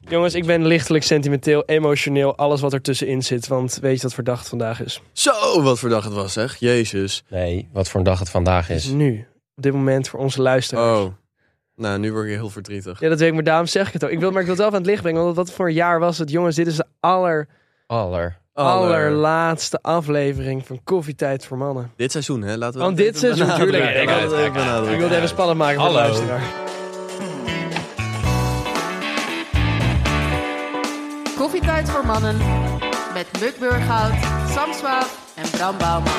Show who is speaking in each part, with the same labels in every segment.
Speaker 1: Jongens, ik ben lichtelijk sentimenteel, emotioneel, alles wat ertussenin zit. Want weet je wat verdacht vandaag is?
Speaker 2: Zo, wat voor dag het was, zeg. Jezus.
Speaker 3: Nee, wat voor een dag het vandaag
Speaker 1: Dus
Speaker 3: is.
Speaker 1: nu, op dit moment voor onze luisteraars.
Speaker 2: Oh. Nou, nu word ik heel verdrietig.
Speaker 1: Ja, dat weet ik, maar daarom zeg ik het ook. Ik wil, maar ik wil het wel aan het licht brengen, want wat voor jaar was het? Jongens, dit is de aller,
Speaker 3: Aller.
Speaker 1: allerlaatste aflevering van Koffietijd voor Mannen.
Speaker 2: Dit seizoen, hè? Laten we
Speaker 1: Want Oh, dit seizoen, tuurlijk.
Speaker 3: benadrukken.
Speaker 1: Ik wilde-
Speaker 3: Benadrukken.
Speaker 1: Ik wilde even spannend maken voor de
Speaker 3: Hallo.
Speaker 1: luisteraar.
Speaker 4: Koffietijd voor mannen met Muk Burghout, Sam Swaap en Bram Bouwman.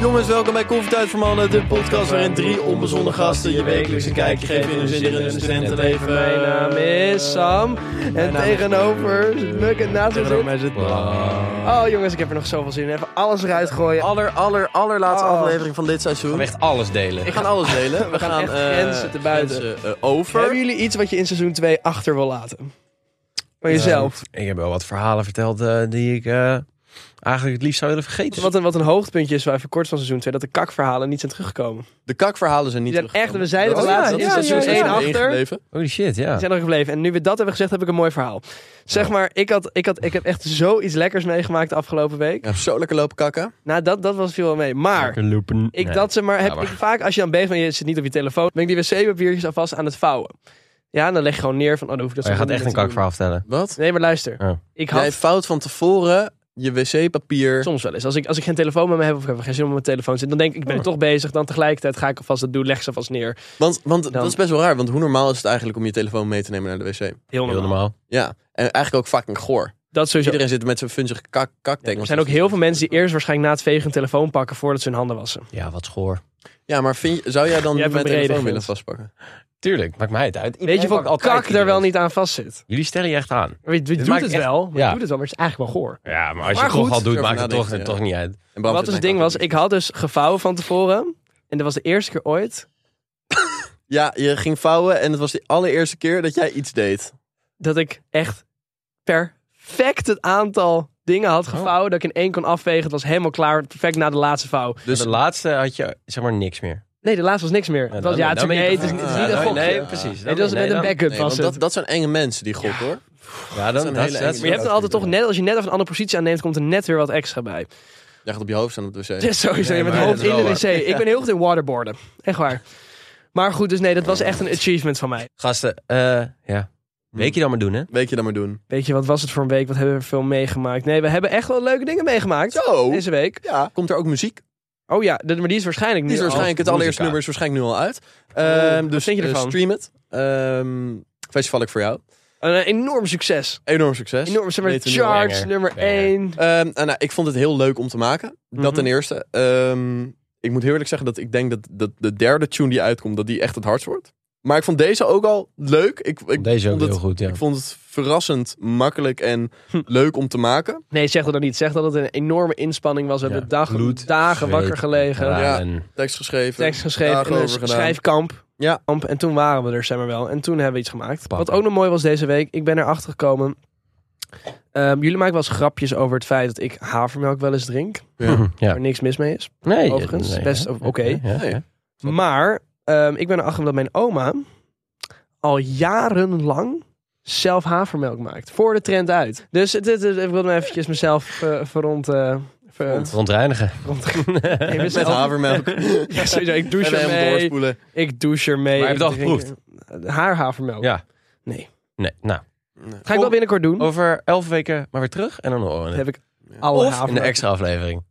Speaker 2: Jongens, welkom bij Koffietijd voor Mannen, de podcast waarin drie onbezonnen gasten je wekelijkse kijkje geven in hun zin in hun studentenleven.
Speaker 1: Mijn naam is Sam. En
Speaker 2: naam is-
Speaker 1: tegenover zit Muk en naast me
Speaker 2: Tegenover
Speaker 1: zit...
Speaker 2: mij zit
Speaker 1: Oh jongens, ik heb er nog zoveel zin in. Even alles eruit gooien.
Speaker 2: Aller, aller, allerlaatste
Speaker 1: Oh.
Speaker 2: aflevering van dit
Speaker 3: We
Speaker 2: seizoen.
Speaker 3: gaan echt alles delen.
Speaker 2: We gaan alles delen. We,
Speaker 1: gaan echt
Speaker 2: eh,
Speaker 1: grenzen te buiten.
Speaker 2: grenzen, eh, over.
Speaker 1: Hebben jullie iets wat je in seizoen 2 achter wil laten? Van jezelf.
Speaker 3: Ik heb wel wat verhalen verteld eh, die ik eh, eigenlijk het liefst zou willen vergeten.
Speaker 1: Wat een, wat een hoogtepuntje is wel even kort van seizoen 2, dat de kakverhalen niet zijn teruggekomen.
Speaker 2: De kakverhalen zijn niet
Speaker 1: Die zijn echt, we
Speaker 2: teruggekomen.
Speaker 1: zeiden
Speaker 2: Dat
Speaker 1: het
Speaker 2: is-
Speaker 1: laatst,
Speaker 3: ja,
Speaker 1: in
Speaker 3: ja,
Speaker 1: seizoen
Speaker 3: ja, ja.
Speaker 1: 1
Speaker 3: Ja.
Speaker 1: achter,
Speaker 2: ingebleven.
Speaker 3: Holy shit, ja.
Speaker 1: die zijn er gebleven. En nu we dat hebben gezegd, heb ik een mooi verhaal. Zeg maar, ik, had, ik, had, ik heb echt zoiets lekkers meegemaakt de afgelopen
Speaker 2: Ik
Speaker 1: week.
Speaker 2: heb zo lekker lopen kakken.
Speaker 1: Nou, dat, dat was veel wel mee. Maar,
Speaker 3: Lekker lopen.
Speaker 1: ik
Speaker 3: Nee.
Speaker 1: dat ze maar, heb
Speaker 3: Ja, maar-
Speaker 1: Ik vaak als je dan bezig bent, je zit niet op je telefoon, ben ik die wc-papiertjes alvast aan het vouwen. Ja, en dan leg je gewoon neer van, oh, dan hoef ik dat
Speaker 3: Oh, je
Speaker 1: zo
Speaker 3: gaat
Speaker 1: niet
Speaker 3: echt een
Speaker 1: meer te doen.
Speaker 3: kakverhaal vertellen.
Speaker 2: Wat?
Speaker 1: Nee, maar luister.
Speaker 3: Oh.
Speaker 1: Ik had
Speaker 2: Jij fout van tevoren je wc-papier.
Speaker 1: Soms wel eens. Als ik, als ik geen telefoon met me heb of ik heb geen zin om op mijn telefoon te zitten, dan denk ik, ik ben toch bezig. Dan tegelijkertijd ga ik alvast dat doen, leg ze alvast neer.
Speaker 2: Want, want
Speaker 1: Dan-
Speaker 2: dat is best wel raar. Want hoe normaal is het eigenlijk om je telefoon mee te nemen naar de wc?
Speaker 1: Heel
Speaker 3: Heel normaal.
Speaker 2: Ja. En eigenlijk ook fucking goor. Dus
Speaker 1: Dat sowieso.
Speaker 2: Iedereen zit met zijn funzig kak kakdek.
Speaker 1: er zijn ook heel veel mensen die eerst waarschijnlijk na het vegen hun telefoon pakken voordat ze hun handen wassen.
Speaker 3: Ja, wat schoor.
Speaker 2: Ja, maar vind je- zou jij dan
Speaker 1: Jij bent
Speaker 2: mijn telefoon
Speaker 1: beledigend.
Speaker 2: willen vastpakken?
Speaker 3: Tuurlijk, maakt mij het uit.
Speaker 1: Weet je hoeveel kak er wel niet aan vast zit?
Speaker 3: Jullie stellen je echt aan.
Speaker 1: Je, je doet
Speaker 3: maakt
Speaker 1: het
Speaker 3: echt-
Speaker 1: wel, maar je
Speaker 3: ja.
Speaker 1: doet het wel, maar het is eigenlijk wel goor.
Speaker 3: Ja, maar als
Speaker 1: Maar
Speaker 3: je het
Speaker 1: goed.
Speaker 3: toch al doet,
Speaker 2: Durf
Speaker 3: maakt het toch,
Speaker 2: nadenken, ja.
Speaker 3: toch niet uit.
Speaker 2: En Bram
Speaker 1: Wat
Speaker 2: zit
Speaker 1: dus het
Speaker 2: mijn
Speaker 1: ding was,
Speaker 2: kakdek.
Speaker 1: ik had dus gevouwen van tevoren. En dat was de eerste keer ooit
Speaker 2: Ja, je ging vouwen en het was de allereerste keer dat jij iets deed.
Speaker 1: dat ik echt perfect het aantal dingen
Speaker 3: Oh.
Speaker 1: had gevouwen. Dat ik in één kon afvegen. Het was helemaal klaar, perfect na de laatste vouw.
Speaker 3: Dus
Speaker 2: Dus-
Speaker 3: de laatste had je, zeg maar, niks meer.
Speaker 1: Nee, de laatste was niks meer. Het was, ja, het is, nee, het is, het is
Speaker 2: Ah,
Speaker 1: niet een
Speaker 2: nee,
Speaker 1: gokje.
Speaker 3: Nee, precies.
Speaker 1: Nee, dat was met een backup
Speaker 2: Nee,
Speaker 1: was
Speaker 2: want dat,
Speaker 1: het.
Speaker 2: dat zijn enge mensen die gokken hoor.
Speaker 3: Ja,
Speaker 2: dat is
Speaker 3: dan,
Speaker 2: een
Speaker 3: dat,
Speaker 2: hele
Speaker 3: dat,
Speaker 2: enge-
Speaker 1: Maar je hebt er altijd toch net, als je net even een andere positie aanneemt, komt er net weer wat extra bij.
Speaker 2: Jij gaat op je hoofd staan op de wc.
Speaker 1: Dus sowieso, je
Speaker 3: Nee,
Speaker 1: bent
Speaker 3: maar-
Speaker 1: hoofd in de
Speaker 3: dat
Speaker 1: wc.
Speaker 3: is wel
Speaker 1: Ik ben heel goed in waterboarden. Echt waar. Maar goed, dus nee, dat was echt een achievement van mij.
Speaker 3: Gasten, eh, ja. Weet je dan maar doen, hè?
Speaker 2: Weet je dan maar doen.
Speaker 1: Weet je, wat was het voor een week? Wat hebben we veel meegemaakt? Nee, we hebben echt wel leuke dingen meegemaakt.
Speaker 2: Zo.
Speaker 1: Deze week.
Speaker 2: Ja. Komt er ook muziek?
Speaker 1: Oh ja, dat- maar die is waarschijnlijk
Speaker 2: Die
Speaker 1: niet.
Speaker 2: is waarschijnlijk het
Speaker 3: Muzika.
Speaker 2: allereerste nummer is waarschijnlijk nu al uit.
Speaker 1: Oeh,
Speaker 2: Ehm,
Speaker 1: wat
Speaker 2: dus
Speaker 1: vind je
Speaker 2: eh,
Speaker 1: ervan?
Speaker 2: stream het. Ehm festival ik voor jou.
Speaker 1: Een eh, enorm succes.
Speaker 2: Enorm succes.
Speaker 1: Enorm zeg maar,
Speaker 2: Weten we nu al.
Speaker 1: charts,
Speaker 3: banger.
Speaker 1: nummer
Speaker 3: Banger.
Speaker 1: 1.
Speaker 2: Ehm, en, nou, ik vond het heel leuk om te maken.
Speaker 1: Mhm.
Speaker 2: Dat ten eerste. Ehm, ik moet heel eerlijk zeggen dat ik denk dat, dat de derde tune die uitkomt, dat die echt het hardst wordt. Maar ik vond deze ook al leuk. Ik, ik,
Speaker 3: Deze ook
Speaker 2: vond het,
Speaker 3: heel goed, ja.
Speaker 2: ik vond het verrassend makkelijk en
Speaker 1: Hm.
Speaker 2: leuk om te maken.
Speaker 1: Nee, zeg dat dan niet. Zeg dat het een enorme inspanning was. We
Speaker 3: Ja.
Speaker 1: hebben dagen,
Speaker 3: Bloed,
Speaker 1: dagen
Speaker 3: zweet,
Speaker 1: wakker gelegen.
Speaker 3: tranen.
Speaker 2: Tekst geschreven.
Speaker 1: tekst geschreven
Speaker 2: dagen
Speaker 1: in een
Speaker 2: over gedaan.
Speaker 1: schrijfkamp.
Speaker 2: Ja.
Speaker 1: Kamp. En toen waren we er, zeg maar wel. En toen hebben we iets gemaakt.
Speaker 3: Papa.
Speaker 1: Wat ook nog mooi was deze week. Ik ben erachter gekomen. Ehm, jullie maken wel eens grapjes over het feit dat ik havermelk wel eens drink.
Speaker 2: Ja.
Speaker 3: Ja.
Speaker 1: Waar niks mis mee is.
Speaker 3: Nee, eh,
Speaker 1: Overigens,
Speaker 3: nee,
Speaker 1: best
Speaker 3: hè?
Speaker 1: o- oké.
Speaker 3: Ja, ja,
Speaker 2: Nee.
Speaker 3: ja. Snap ik.
Speaker 1: Maar ehm, ik ben erachter dat mijn oma al jarenlang zelf havermelk maakt. Voor de trend uit. Dus het, het- het- ik wilde eventjes mezelf eh, verrond... eh, ver-
Speaker 3: Verontreinigen.
Speaker 1: verrond- Nee,
Speaker 2: Met
Speaker 1: mezelf-
Speaker 2: havermelk. en
Speaker 1: Ja, sowieso. Ik douche
Speaker 2: hem
Speaker 1: ermee.
Speaker 2: doorspoelen.
Speaker 1: Ik douche ermee.
Speaker 3: Maar heb je het
Speaker 1: ik
Speaker 3: al
Speaker 1: drink- Haar havermelk.
Speaker 3: Ja.
Speaker 1: Nee.
Speaker 3: Oh. Nee, nou.
Speaker 1: Ga ik wel binnenkort doen.
Speaker 3: Over elf weken maar weer terug en dan horen
Speaker 1: Dan
Speaker 3: we het.
Speaker 1: heb ik alle
Speaker 3: Of in de
Speaker 1: havermelk.
Speaker 3: extra aflevering.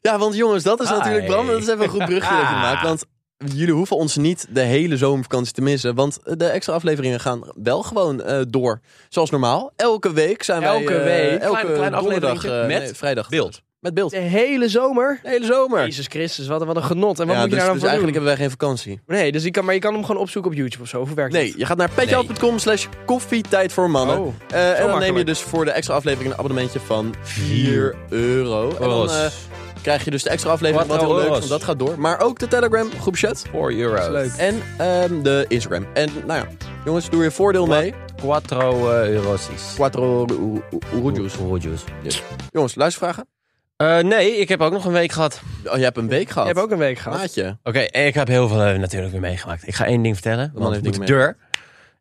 Speaker 2: Ja, want jongens, dat is
Speaker 3: Hi.
Speaker 2: natuurlijk Bram. Dat is even een goed brugje dat je
Speaker 3: Ah.
Speaker 2: maakt. Want jullie hoeven ons niet de hele zomervakantie te missen. Want de extra afleveringen gaan wel gewoon eh, door. Zoals normaal. Elke week zijn
Speaker 1: Elke
Speaker 2: wij... eh,
Speaker 1: week.
Speaker 2: Elke
Speaker 3: Klein- klein
Speaker 2: donderdag.
Speaker 3: afleveringetje
Speaker 2: eh,
Speaker 3: met
Speaker 2: nee, vrijdag.
Speaker 3: beeld.
Speaker 2: Met beeld.
Speaker 1: De hele zomer.
Speaker 2: De hele zomer.
Speaker 1: Jezus Christus, wat, een- wat een genot. En wat
Speaker 2: ja,
Speaker 1: moet je
Speaker 2: dus,
Speaker 1: daar dan
Speaker 2: dus
Speaker 1: voor
Speaker 2: eigenlijk
Speaker 1: doen?
Speaker 2: hebben wij geen vakantie.
Speaker 1: Nee, dus ik kan, maar je kan hem gewoon opzoeken op YouTube of zo. Hoe werkt
Speaker 2: Nee,
Speaker 1: dat?
Speaker 2: je gaat naar petjeaf.com slash koffietijd voor mannen.
Speaker 1: Oh,
Speaker 2: Eh, en dan neem je
Speaker 1: makkelijk.
Speaker 2: dus voor de extra aflevering een abonnementje van 4 euro. En dan eh, krijg je dus de extra aflevering, wat
Speaker 3: Wat
Speaker 2: heel leuk is,
Speaker 3: euro's.
Speaker 2: want dat gaat door. Maar ook de Telegram groep chat.
Speaker 3: 4 euro.
Speaker 1: leuk.
Speaker 2: En ehm, de Instagram. En nou ja, jongens, doe je voordeel mee.
Speaker 3: 4 eh, euro's.
Speaker 2: Quattro
Speaker 3: Rujus.
Speaker 2: Jongens, luistervragen.
Speaker 3: Eh, nee, ik heb ook nog een week gehad. Oké,
Speaker 2: Oh, je hebt een week
Speaker 1: Je
Speaker 2: gehad.
Speaker 1: hebt ook een week gehad.
Speaker 2: Maatje.
Speaker 3: en ik heb heel veel eh, natuurlijk weer meegemaakt. Ik ga één ding vertellen.
Speaker 2: man heeft
Speaker 3: Want de
Speaker 2: dingen
Speaker 3: deur.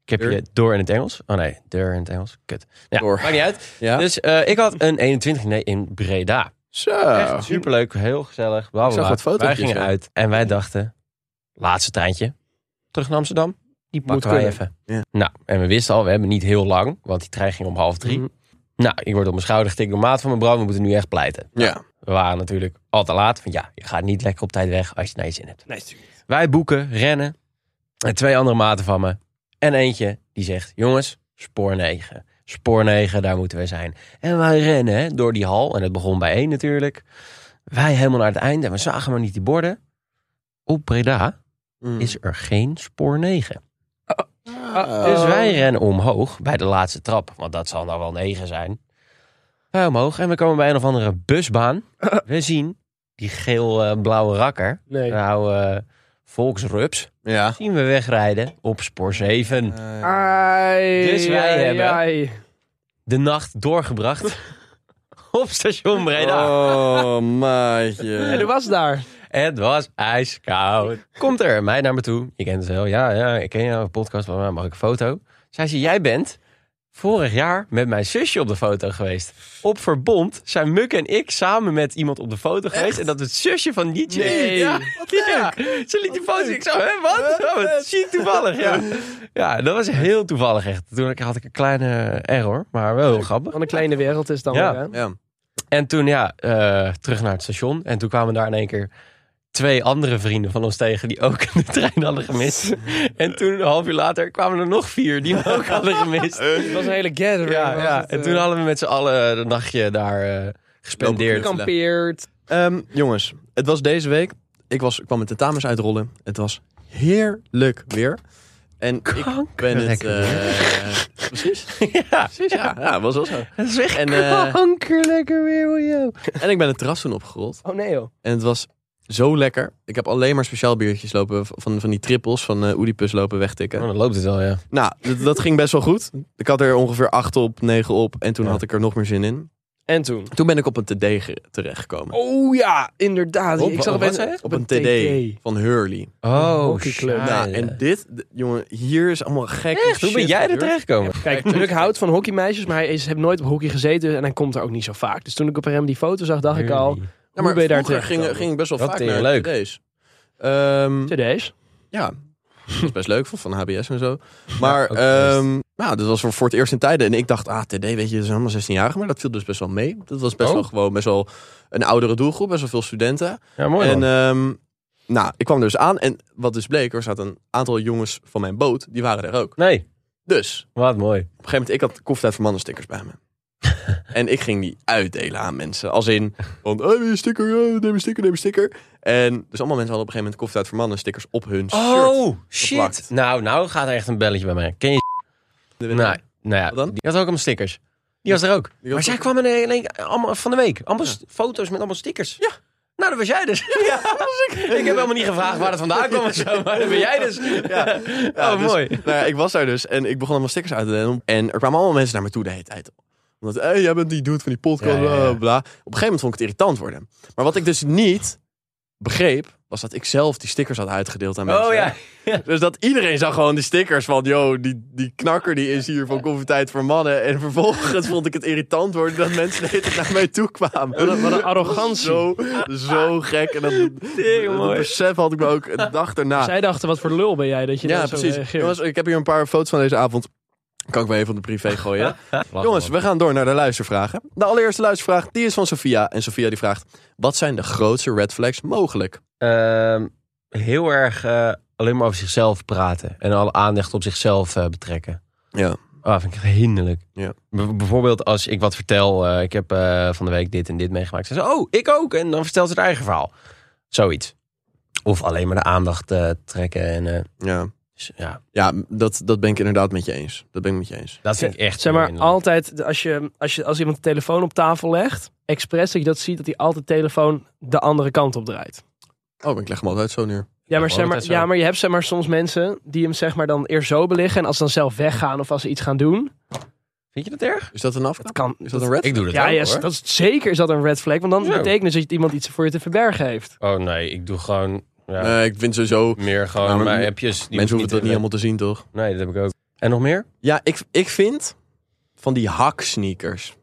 Speaker 3: Ik heb
Speaker 2: Deur?
Speaker 3: je door in het Engels. Oh nee, deur in het Engels. Kut. Ja,
Speaker 2: Door.
Speaker 3: maakt niet uit.
Speaker 2: Ja.
Speaker 3: Dus eh, ik had een 21 nee in Breda.
Speaker 2: Zo.
Speaker 3: Echt superleuk, heel gezellig. Bla, bla,
Speaker 2: Eh, Ik zag
Speaker 3: bla.
Speaker 2: wat fotootjes,
Speaker 3: Wij gingen
Speaker 2: ja.
Speaker 3: uit en wij dachten, laatste treintje, terug naar Amsterdam. Die
Speaker 1: Moet
Speaker 3: pakken wij
Speaker 1: kunnen.
Speaker 3: even.
Speaker 2: Ja.
Speaker 3: Nou, en we wisten al, we hebben niet heel lang, want die trein ging om half drie.
Speaker 1: Mhm.
Speaker 3: Nou, ik word op mijn schouder getikt door maat van mijn bro, we moeten nu echt pleiten.
Speaker 2: Ja.
Speaker 3: We waren natuurlijk al te laat, van ja, je gaat niet lekker op tijd weg als je het naar je zin hebt.
Speaker 1: Nee, natuurlijk niet.
Speaker 3: Wij boeken, rennen. En twee andere maten van me. En eentje die zegt: Jongens, spoor 9. Spoor 9, daar moeten we zijn. En wij rennen hè, door die hal. En het begon bij één natuurlijk. Wij helemaal naar het einde. En we zagen maar niet die borden. Op Breda
Speaker 2: Mm.
Speaker 3: is er geen spoor 9.
Speaker 2: Ah.
Speaker 3: Dus wij rennen omhoog bij de laatste trap. Want dat zal nou wel 9 zijn. Wij omhoog. En we komen bij een of andere busbaan. We zien die geel-blauwe rakker.
Speaker 1: Nee.
Speaker 3: Nou, eh Volksrups
Speaker 2: eh, Ja.
Speaker 3: zien we wegrijden op spoor 7.
Speaker 1: Ai,
Speaker 3: Dus wij
Speaker 1: ai,
Speaker 3: hebben-
Speaker 1: ai.
Speaker 3: De nacht doorgebracht op station Breda.
Speaker 2: Oh,
Speaker 1: En hoe
Speaker 2: maatje.
Speaker 1: was het daar?
Speaker 3: Het was ijskoud. Komt er een meid naar me toe. Je kent ze wel. Ja, ja, ik ken jouw podcast. maar Mag ik een foto? Zij zei, jij bent vorig jaar met mijn zusje op de foto geweest. Op Verbond zijn Muk en ik samen met iemand op de foto geweest. En dat is het zusje van Nietje.
Speaker 1: Nee.
Speaker 3: Ja, ja. Ze liet die foto. Ik zo, hè, wat? Oh, wat ziek toevallig. Ja. ja, dat was heel toevallig echt. Toen had ik een kleine error, maar wel heel grappig.
Speaker 1: Wat een kleine wereld is dan
Speaker 3: Ja.
Speaker 1: weer, hè?
Speaker 2: Ja.
Speaker 3: En toen, ja, eh, terug naar het station. En toen kwamen daar in één keer twee andere vrienden van ons tegen die ook de trein hadden gemist. En toen, een half uur later, kwamen er nog vier die we ook hadden gemist.
Speaker 1: Het was een hele gathering.
Speaker 3: Ja,
Speaker 1: was
Speaker 3: ja.
Speaker 1: het,
Speaker 3: En
Speaker 1: eh,
Speaker 3: toen hadden we met z'n allen een nachtje daar eh, gespendeerd.
Speaker 1: gekampeerd.
Speaker 2: Ehm, jongens, het was deze week. Ik, was, ik kwam mijn tentamens uitrollen. Het was heerlijk weer. En ik ben het...
Speaker 3: Kankerlekker
Speaker 2: eh, precies.
Speaker 3: Ja,
Speaker 2: Precies, ja. Ja, het was wel zo.
Speaker 3: dat is echt
Speaker 2: En, eh,
Speaker 3: lekker weer, William.
Speaker 2: En ik ben het terras toen opgerold.
Speaker 1: Oh nee joh.
Speaker 2: En het was zo lekker. Ik heb alleen maar speciaal biertjes lopen. Van, van die trippels van eh Oedipus lopen wegtikken.
Speaker 3: Oh, dan loopt het wel, ja.
Speaker 2: Nou, dat, dat ging best wel goed. Ik had er ongeveer acht op, negen op. En toen
Speaker 3: Ja.
Speaker 2: had ik er nog meer zin in.
Speaker 1: En toen?
Speaker 2: Toen ben ik op een TD ge- terechtgekomen.
Speaker 1: Oh ja, inderdaad.
Speaker 3: Op-
Speaker 1: ik zag
Speaker 3: op
Speaker 1: opeens-
Speaker 3: wat zei je?
Speaker 2: op een TD van Hurley.
Speaker 3: Oh,
Speaker 1: Hockeyclub.
Speaker 3: shit.
Speaker 2: nou, en dit, d- jongen, hier is allemaal gek.
Speaker 3: Echt, hoe ben jij er terecht gekomen?
Speaker 1: Kijk, Luc houdt van hockeymeisjes, maar hij is, heeft nooit op hockey gezeten en hij komt er ook niet zo vaak. Dus toen ik op hem die foto zag, dacht ik al,
Speaker 2: Ja, maar
Speaker 1: hoe ben je daar
Speaker 2: vroeger
Speaker 1: terecht
Speaker 2: ging, ging ik best wel
Speaker 3: Dat
Speaker 2: vaak
Speaker 3: is
Speaker 2: naar
Speaker 3: leuk.
Speaker 2: TD's. Ehm,
Speaker 1: today's.
Speaker 2: ja, dat is best leuk van, van HBS en zo. Maar
Speaker 3: ook geweest.
Speaker 2: ehm, nou, dat was voor, voor het eerst in tijden. En ik dacht, ah, TD, weet je, dat zijn allemaal 16-jarigen. Maar dat viel dus best wel mee. Dat was best
Speaker 3: Oh.
Speaker 2: wel gewoon best wel een oudere doelgroep. Best wel veel studenten.
Speaker 3: Ja, mooi
Speaker 2: En
Speaker 3: man.
Speaker 2: ehm, nou, ik kwam er dus aan. En wat dus bleek, er zaten een aantal jongens van mijn boot. Die waren er ook.
Speaker 3: Nee,
Speaker 2: Dus,
Speaker 3: wat mooi.
Speaker 2: op een gegeven moment, ik had koffietijd voor mannen stickers bij me. en ik ging die uitdelen aan mensen. Als in, van, hey, wil je een sticker, Eh, neem een sticker, neem een sticker. En dus allemaal mensen hadden op een gegeven moment koffietijd voor mannen stickers op hun shirt.
Speaker 3: Oh, shit.
Speaker 2: geplakt.
Speaker 3: Nou, nou gaat er echt een belletje bij mij. Ken je
Speaker 2: De-
Speaker 3: Nou, nou ja,
Speaker 2: Wat dan?
Speaker 3: die had ook allemaal stickers. Die was er ook.
Speaker 2: Die
Speaker 3: maar
Speaker 2: was
Speaker 3: zij
Speaker 2: ook-
Speaker 3: kwam in één- in één- allemaal van de week. Allemaal st- foto's met allemaal stickers. Ja. Nou, dat was jij dus. Ja, ik. heb helemaal niet gevraagd waar dat vandaan kwam of zo. Maar dat ben jij dus. Ja.
Speaker 2: Ja,
Speaker 3: oh,
Speaker 2: dus,
Speaker 3: mooi.
Speaker 2: Nou ja, ik was daar dus en ik begon allemaal stickers uit te delen. En er kwamen allemaal mensen naar me toe de hele tijd. Omdat, hé, jij bent die dude van die podcast,
Speaker 3: Ja, ja, ja.
Speaker 2: bla, bla. Op een gegeven moment vond ik het irritant worden. Maar wat ik dus niet begreep, was dat ik zelf die stickers had uitgedeeld aan mensen.
Speaker 3: Oh ja.
Speaker 2: Dus dat iedereen zag gewoon die stickers van, yo, die, die knakker die is hier van Koffietijd voor Mannen. En vervolgens vond ik het irritant worden dat mensen de hele tijd naar mij toe kwamen.
Speaker 1: Wat een arrogantie.
Speaker 2: Zo, zo gek. En dat,
Speaker 3: Tering,
Speaker 2: dat
Speaker 3: mooi.
Speaker 2: besef had ik me ook een dag daarna.
Speaker 1: Zij dachten, wat voor lul ben jij dat je
Speaker 2: Ja,
Speaker 1: daar zo
Speaker 2: precies.
Speaker 1: reageert.
Speaker 2: Jongens, ik heb hier een paar foto's van deze avond. Kan ik wel even op de privé gooien. Jongens, we gaan door naar de luistervragen. De allereerste luistervraag, die is van Sofia. En Sofia die vraagt, wat zijn de grootste red flags mogelijk?
Speaker 3: Ehm, heel erg eh, alleen maar over zichzelf praten. En alle aandacht op zichzelf eh, betrekken.
Speaker 2: Ja.
Speaker 3: Ah, vind ik echt hinderlijk.
Speaker 2: Ja.
Speaker 3: B- bijvoorbeeld als ik wat vertel, eh, ik heb eh, van de week dit en dit meegemaakt. Ze zegt, oh, ik ook. En dan vertelt ze het eigen verhaal. Zoiets. Of alleen maar de aandacht eh, trekken. En, eh,
Speaker 2: Ja,
Speaker 3: dus, ja,
Speaker 2: ja dat, dat ben ik inderdaad met je eens. Dat ben ik met je eens.
Speaker 3: dat vind ik echt...
Speaker 1: Zeg maar,
Speaker 3: heel hinderlijk.
Speaker 1: altijd als, je, als, je, als iemand de telefoon op tafel legt, expres dat je dat ziet, dat hij altijd de telefoon de andere kant op draait.
Speaker 2: Oh, ik leg hem altijd zo neer.
Speaker 1: Ja, maar,
Speaker 3: Ja,
Speaker 1: zeg maar,
Speaker 3: altijd zo.
Speaker 1: ja, maar je hebt zeg maar, soms mensen die hem zeg maar, dan eerst zo beliggen. En als ze dan zelf weggaan of als ze iets gaan doen,
Speaker 3: Vind je dat erg?
Speaker 2: Is dat een afknap?
Speaker 1: Dat kan.
Speaker 2: Is dat een red?
Speaker 3: Ik doe dat
Speaker 1: Ja,
Speaker 3: ook,
Speaker 1: ja,
Speaker 3: hoor.
Speaker 1: dat is, zeker is dat een red flag. Want dan
Speaker 3: Zo.
Speaker 1: betekent het dat je iemand iets voor je te verbergen heeft.
Speaker 3: Oh nee, ik doe gewoon ja,
Speaker 2: Nee, ik vind sowieso...
Speaker 3: meer gewoon
Speaker 2: Nou, maar
Speaker 3: mijn
Speaker 2: m-
Speaker 3: appjes. die
Speaker 2: mensen
Speaker 3: hoef ik
Speaker 2: hoeven dat niet allemaal te zien, toch?
Speaker 3: Nee, dat heb ik ook. En nog meer?
Speaker 2: Ja, ik, ik vind van die haksneakers.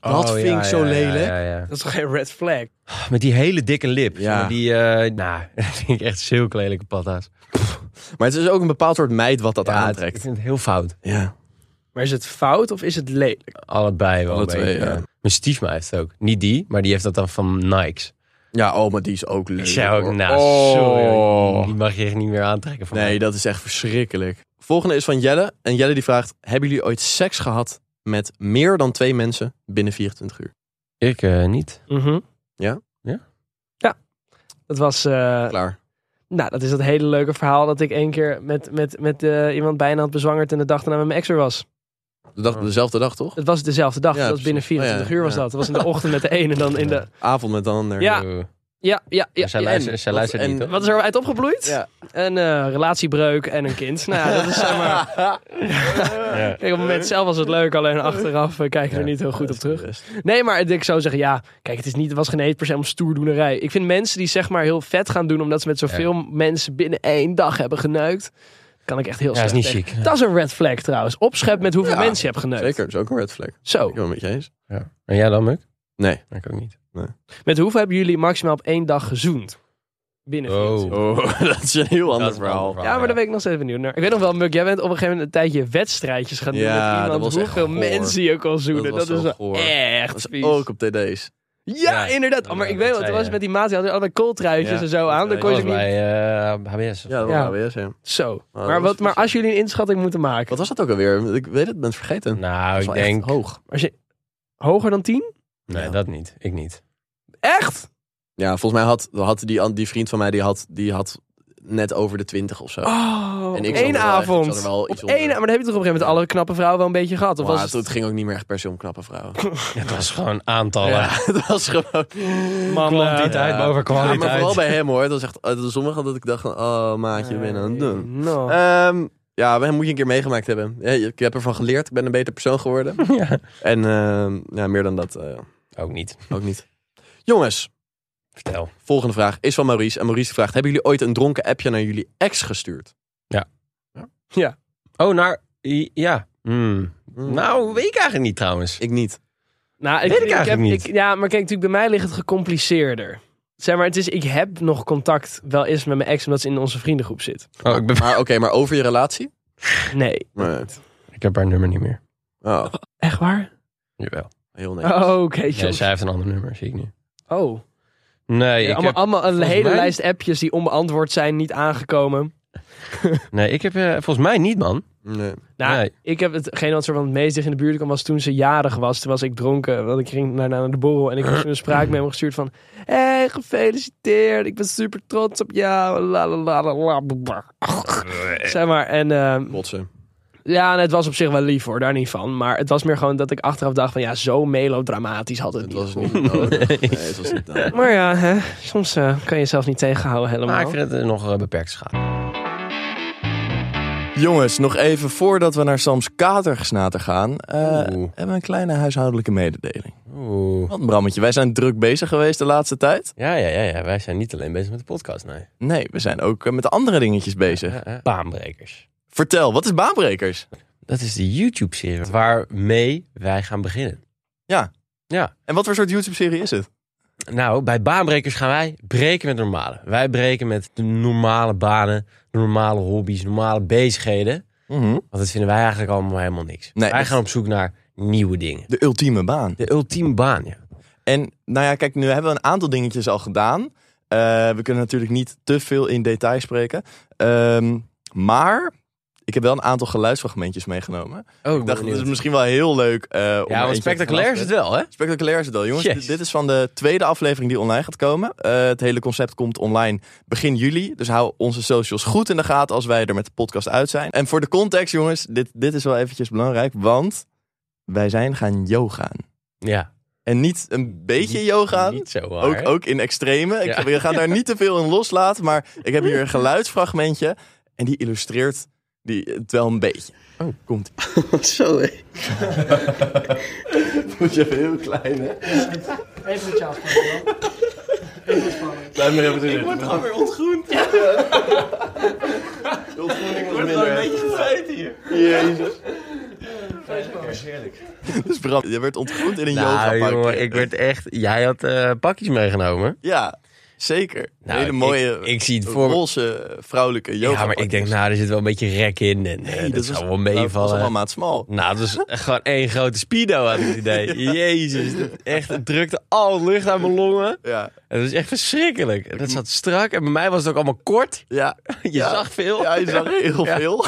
Speaker 2: Dat vind ik zo lelijk.
Speaker 3: Oh, ja, ja.
Speaker 1: Dat is toch geen red flag?
Speaker 3: Met die hele dikke lip.
Speaker 2: Ja.
Speaker 3: Met Die, eh nou, dat vind ik echt zulke lelijke patta's.
Speaker 2: Maar het is ook een bepaald soort meid wat dat
Speaker 3: Ja, Ik
Speaker 2: aantrekt.
Speaker 3: vind het heel fout.
Speaker 2: Ja.
Speaker 1: Maar is het fout of is het lelijk?
Speaker 3: Allebei wel
Speaker 2: Alle
Speaker 3: een
Speaker 2: twee,
Speaker 3: beetje,
Speaker 2: ja.
Speaker 3: Mijn stiefma heeft het ook. Niet die, maar die heeft dat dan van Nikes.
Speaker 2: Ja, oh, maar die is ook leuk.
Speaker 3: Ik zei ook,
Speaker 2: hoor.
Speaker 3: nou,
Speaker 2: Oh.
Speaker 3: sorry. hoor. Die mag je echt niet meer aantrekken van
Speaker 2: Nee,
Speaker 3: mij.
Speaker 2: dat is echt verschrikkelijk. Volgende is van Jelle. En Jelle die vraagt, hebben jullie ooit seks gehad met meer dan twee mensen binnen 24 uur?
Speaker 3: Ik eh, niet.
Speaker 2: Ja?
Speaker 3: Ja?
Speaker 1: Mhm. Ja. Dat was... eh,
Speaker 2: Klaar.
Speaker 1: nou, dat is dat hele leuke verhaal dat ik één keer met, met, met eh, iemand bijna had bezwangerd... en de dag daarna met mijn ex er was.
Speaker 2: De
Speaker 3: Oh.
Speaker 2: dag, dezelfde dag, toch?
Speaker 1: Het was dezelfde dag.
Speaker 2: Ja,
Speaker 1: dat was binnen
Speaker 2: precies.
Speaker 1: 24
Speaker 2: Oh, ja,
Speaker 1: uur was
Speaker 2: ja.
Speaker 1: dat. Het was in de ochtend met de ene en dan in de...
Speaker 2: Avond met de ander.
Speaker 1: Ja.
Speaker 3: Eh,
Speaker 1: Ja, ja, ja.
Speaker 3: maar zij
Speaker 1: ja.
Speaker 3: luistert, zij
Speaker 2: wat-
Speaker 3: luistert
Speaker 2: en-
Speaker 3: niet, toch?
Speaker 1: Wat is er uit opgebloeid?
Speaker 2: Ja.
Speaker 1: Een eh, relatiebreuk en een kind. Nou ja, dat is zeg maar...
Speaker 3: Ja.
Speaker 1: Kijk, op het moment zelf was het leuk, alleen achteraf eh, kijk je er
Speaker 3: Ja,
Speaker 1: niet heel goed op terug.
Speaker 2: Rest.
Speaker 1: Nee, maar ik zou zeggen, ja, kijk, het, is niet, het was geen eens per se om stoerdoenerij. Ik vind mensen die zeg maar heel vet gaan doen, omdat ze met zoveel mensen binnen één dag hebben geneukt, kan ik echt heel
Speaker 3: Ja, is
Speaker 1: slecht
Speaker 3: niet
Speaker 1: tegen.
Speaker 3: chic.
Speaker 1: Dat is een red flag trouwens. Opschep met hoeveel
Speaker 2: Ja,
Speaker 1: mensen je hebt geneukt.
Speaker 2: Zeker, dat is ook een red flag.
Speaker 1: Zo,
Speaker 2: Ik ben het met je eens.
Speaker 3: Ja. En jij dan, Muk?
Speaker 2: Nee.
Speaker 3: Oh. Ik ook niet.
Speaker 1: met hoeveel hebben jullie maximaal op één dag gezoend? Binnen 24 uur.
Speaker 2: Oh, dat is een heel
Speaker 3: Dat
Speaker 2: ander
Speaker 3: is een
Speaker 2: verhaal.
Speaker 3: ander
Speaker 1: Ja, maar daar ben ik nog steeds benieuwd naar. Ik weet nog wel, Muk, jij bent op een gegeven moment een tijdje wedstrijdjes gaan doen
Speaker 2: Ja,
Speaker 1: met
Speaker 2: dat
Speaker 1: iemand.
Speaker 2: was echt
Speaker 1: hoeveel
Speaker 2: goor.
Speaker 1: mensen je ook al zoenen.
Speaker 2: was
Speaker 1: Dat, is
Speaker 2: wel
Speaker 1: wel
Speaker 2: goor.
Speaker 1: echt
Speaker 2: Dat is
Speaker 1: vies.
Speaker 2: ook op TD's.
Speaker 1: Ja,
Speaker 3: Ja,
Speaker 1: inderdaad.
Speaker 3: dat
Speaker 1: Oh, maar
Speaker 3: wou
Speaker 1: ik weet wel,
Speaker 3: ik net
Speaker 1: toen
Speaker 3: zeggen.
Speaker 1: was het met die maat, die hadden allemaal kooltruitjes
Speaker 2: Ja,
Speaker 1: en zo aan. Dan kon je
Speaker 3: was
Speaker 1: ze ook niet...
Speaker 3: bij eh, HBS.
Speaker 2: Ja, dat
Speaker 1: Ja.
Speaker 2: was AWS, ja.
Speaker 1: Zo.
Speaker 2: dat
Speaker 1: maar,
Speaker 2: was
Speaker 1: wat, maar
Speaker 2: vies, ja.
Speaker 1: als jullie een inschatting moeten maken.
Speaker 2: Wat was dat ook alweer? Ik weet het, ben het vergeten.
Speaker 3: Nou,
Speaker 2: Dat is
Speaker 3: ik
Speaker 2: wel echt
Speaker 3: denk...
Speaker 2: hoog.
Speaker 1: Als je, hoger dan 10?
Speaker 3: Nee,
Speaker 2: Ja.
Speaker 3: dat niet. Ik niet.
Speaker 1: Echt?
Speaker 2: Ja, volgens mij had, had die, an- die vriend van mij, die had, die had net over de 20 of zo.
Speaker 1: Oh,
Speaker 2: En
Speaker 1: en
Speaker 2: ik zat er
Speaker 1: één
Speaker 2: wel echt- ik
Speaker 1: avond.
Speaker 2: zat er wel
Speaker 1: op
Speaker 2: iets
Speaker 1: één,
Speaker 2: onder.
Speaker 1: maar dan heb je toch op een gegeven moment alle knappe vrouwen wel een beetje gehad? Of
Speaker 2: maar
Speaker 1: was
Speaker 2: het,
Speaker 1: het,
Speaker 2: het ging ook niet meer echt per se om knappe vrouwen.
Speaker 3: Het was gewoon aantallen.
Speaker 2: Ja, het was gewoon...
Speaker 1: man, eh,
Speaker 3: Kwantiteit
Speaker 2: Ja.
Speaker 3: boven
Speaker 2: Ja,
Speaker 3: kwaliteit.
Speaker 2: maar vooral bij hem hoor. Dat was echt... eh, Sommigen dat ik dacht van, oh maatje, ben je aan het doen?
Speaker 1: no.
Speaker 2: Ehm, ja, hem moet je een keer meegemaakt hebben. Ja, je- ik heb ervan geleerd. Ik ben een beter persoon geworden.
Speaker 3: Ja.
Speaker 2: En ehm, ja, meer dan dat eh,
Speaker 3: Ook niet.
Speaker 2: ook niet. Jongens,
Speaker 3: Vertel.
Speaker 2: volgende vraag is van Maurice. En Maurice vraagt, hebben jullie ooit een dronken appje naar jullie ex gestuurd?
Speaker 3: Oh, naar... i- Ja. Hmm.
Speaker 2: Hmm.
Speaker 3: Nou, weet ik eigenlijk niet trouwens.
Speaker 2: Ik niet.
Speaker 1: Nou, ik,
Speaker 3: Weet ik
Speaker 1: ik heb,
Speaker 3: eigenlijk niet.
Speaker 1: ik- ja, maar kijk, natuurlijk, bij mij ligt het gecompliceerder. Zeg maar, het is, ik heb nog contact wel eens met mijn ex, omdat ze in onze vriendengroep zit.
Speaker 3: Oh, ik, ben...
Speaker 2: Maar oké, maar over je relatie?
Speaker 1: Nee.
Speaker 2: Nee.
Speaker 3: ik heb haar nummer niet meer.
Speaker 2: Oh,
Speaker 1: Echt waar?
Speaker 3: Jawel.
Speaker 2: heel netjes.
Speaker 1: Oh, oké.
Speaker 3: Ja,
Speaker 1: jongens.
Speaker 3: zij heeft een ander nummer, zie ik nu.
Speaker 1: oh.
Speaker 3: Nee,
Speaker 1: Ja,
Speaker 3: ik
Speaker 1: allemaal,
Speaker 3: heb,
Speaker 1: allemaal een
Speaker 3: volgens
Speaker 1: hele
Speaker 3: mij-
Speaker 1: lijst appjes die onbeantwoord zijn, niet aangekomen.
Speaker 3: nee, ik heb eh, volgens mij niet, man.
Speaker 2: Nee.
Speaker 1: Nou,
Speaker 3: Nee.
Speaker 1: ik heb hetgeen wat soort van het meest dicht in de buurt kwam was toen ze jarig was. Toen was ik dronken, want ik ging daarna naar de borrel en ik heb toen een spraakmemo gestuurd van... Hé, hey, gefeliciteerd, ik ben super trots op jou, la la la la la. bla, bla." Zeg maar, en ehm,
Speaker 2: Botsen.
Speaker 1: ja, en het was op zich wel lief hoor, daar niet van. Maar het was meer gewoon dat ik achteraf dacht van ja, zo melodramatisch had het,
Speaker 2: Het
Speaker 1: niet.
Speaker 2: was niet nodig. Nee, het was niet nodig.
Speaker 1: Maar ja, hè, soms eh, kan je jezelf niet tegenhouden helemaal.
Speaker 3: Maar ik vind het eh, nog eh, beperkt schade.
Speaker 5: Jongens, nog even voordat we naar Sams katergesnater gaan, eh,
Speaker 3: Oeh.
Speaker 5: hebben we een kleine huishoudelijke mededeling.
Speaker 3: Oeh.
Speaker 5: Want Brammetje, wij zijn druk bezig geweest de laatste tijd.
Speaker 3: Ja, ja, ja, ja. Wij zijn niet alleen bezig met de podcast, nee.
Speaker 5: Nee, we zijn ook eh, met andere dingetjes bezig.
Speaker 3: Ja, ja. Baanbrekers.
Speaker 5: Vertel, wat is baanbrekers?
Speaker 3: Dat is de YouTube-serie waarmee wij gaan beginnen.
Speaker 5: Ja.
Speaker 3: Ja.
Speaker 5: En wat voor soort YouTube-serie is het?
Speaker 3: Nou, bij baanbrekers gaan wij breken met normale. Wij breken met de normale banen, de normale hobby's, normale bezigheden.
Speaker 2: Mhm.
Speaker 3: Want dat vinden wij eigenlijk allemaal helemaal niks.
Speaker 5: Nee,
Speaker 3: wij
Speaker 5: dat-
Speaker 3: gaan op zoek naar nieuwe dingen.
Speaker 5: De ultieme baan.
Speaker 3: De ultieme baan, ja.
Speaker 5: En nou ja, kijk, nu hebben we een aantal dingetjes al gedaan. Eh, we kunnen natuurlijk niet te veel in detail spreken. Ehm, maar ik heb wel een aantal geluidsfragmentjes meegenomen.
Speaker 3: Oh,
Speaker 5: Ik dacht, dit is misschien wel heel leuk. eh, om
Speaker 3: Ja,
Speaker 5: er
Speaker 3: want
Speaker 5: eentje
Speaker 3: spectaculair
Speaker 5: vanaf
Speaker 3: is
Speaker 5: te-
Speaker 3: het wel, hè?
Speaker 5: Spectaculair is het wel, jongens.
Speaker 3: Yes.
Speaker 5: Dit- Dit is van de tweede aflevering die online gaat komen. Eh, het hele concept komt online begin juli. Dus hou onze socials goed in de gaten als wij er met de podcast uit zijn. En voor de context, jongens, dit, dit is wel eventjes belangrijk. Want wij zijn gaan yogaan.
Speaker 3: Ja.
Speaker 5: En niet een beetje yogaan.
Speaker 3: Niet zo waar.
Speaker 5: Ook, ook in extreme.
Speaker 3: Ja.
Speaker 5: Ik, we gaan daar niet te veel in loslaten. Maar ik heb hier een geluidsfragmentje. En die illustreert
Speaker 2: Die, het wel een beetje. Oh, komt.
Speaker 6: Zo, hé.
Speaker 2: Moet je even heel klein, hè?
Speaker 1: Even met jou afspraken. Even spannend.
Speaker 2: Blijf maar even Ik word gewoon weer ontgroend. Ja. ontgroening was minder. een beetje gevreten hier. Jezus. Dus Bram, je werd ontgroend in een
Speaker 3: Nou,
Speaker 2: yoga
Speaker 3: jongen, ik werd echt... Jij had eh, pakjes meegenomen.
Speaker 2: Ja, zeker.
Speaker 3: Nou,
Speaker 2: Hele
Speaker 3: ik-
Speaker 2: mooie,
Speaker 3: ik, zie het voor me.
Speaker 2: roze vrouwelijke yoga
Speaker 3: Ja, maar ik denk, nou, er zit wel een beetje rek in. En, eh, dat, zou wel
Speaker 2: Dat was allemaal
Speaker 3: meevallen.
Speaker 2: maat smal.
Speaker 3: Nou, het was echt gewoon één grote speedo, had ik het idee. Jezus, dat- echt, het drukte al lucht uit mijn longen.
Speaker 2: Ja,
Speaker 3: Het was echt verschrikkelijk. En dat zat strak. En bij mij was het ook allemaal kort.
Speaker 2: ja.
Speaker 3: Je
Speaker 2: Ja.
Speaker 3: zag veel.
Speaker 2: Ja, je zag heel
Speaker 3: Ja.
Speaker 2: veel.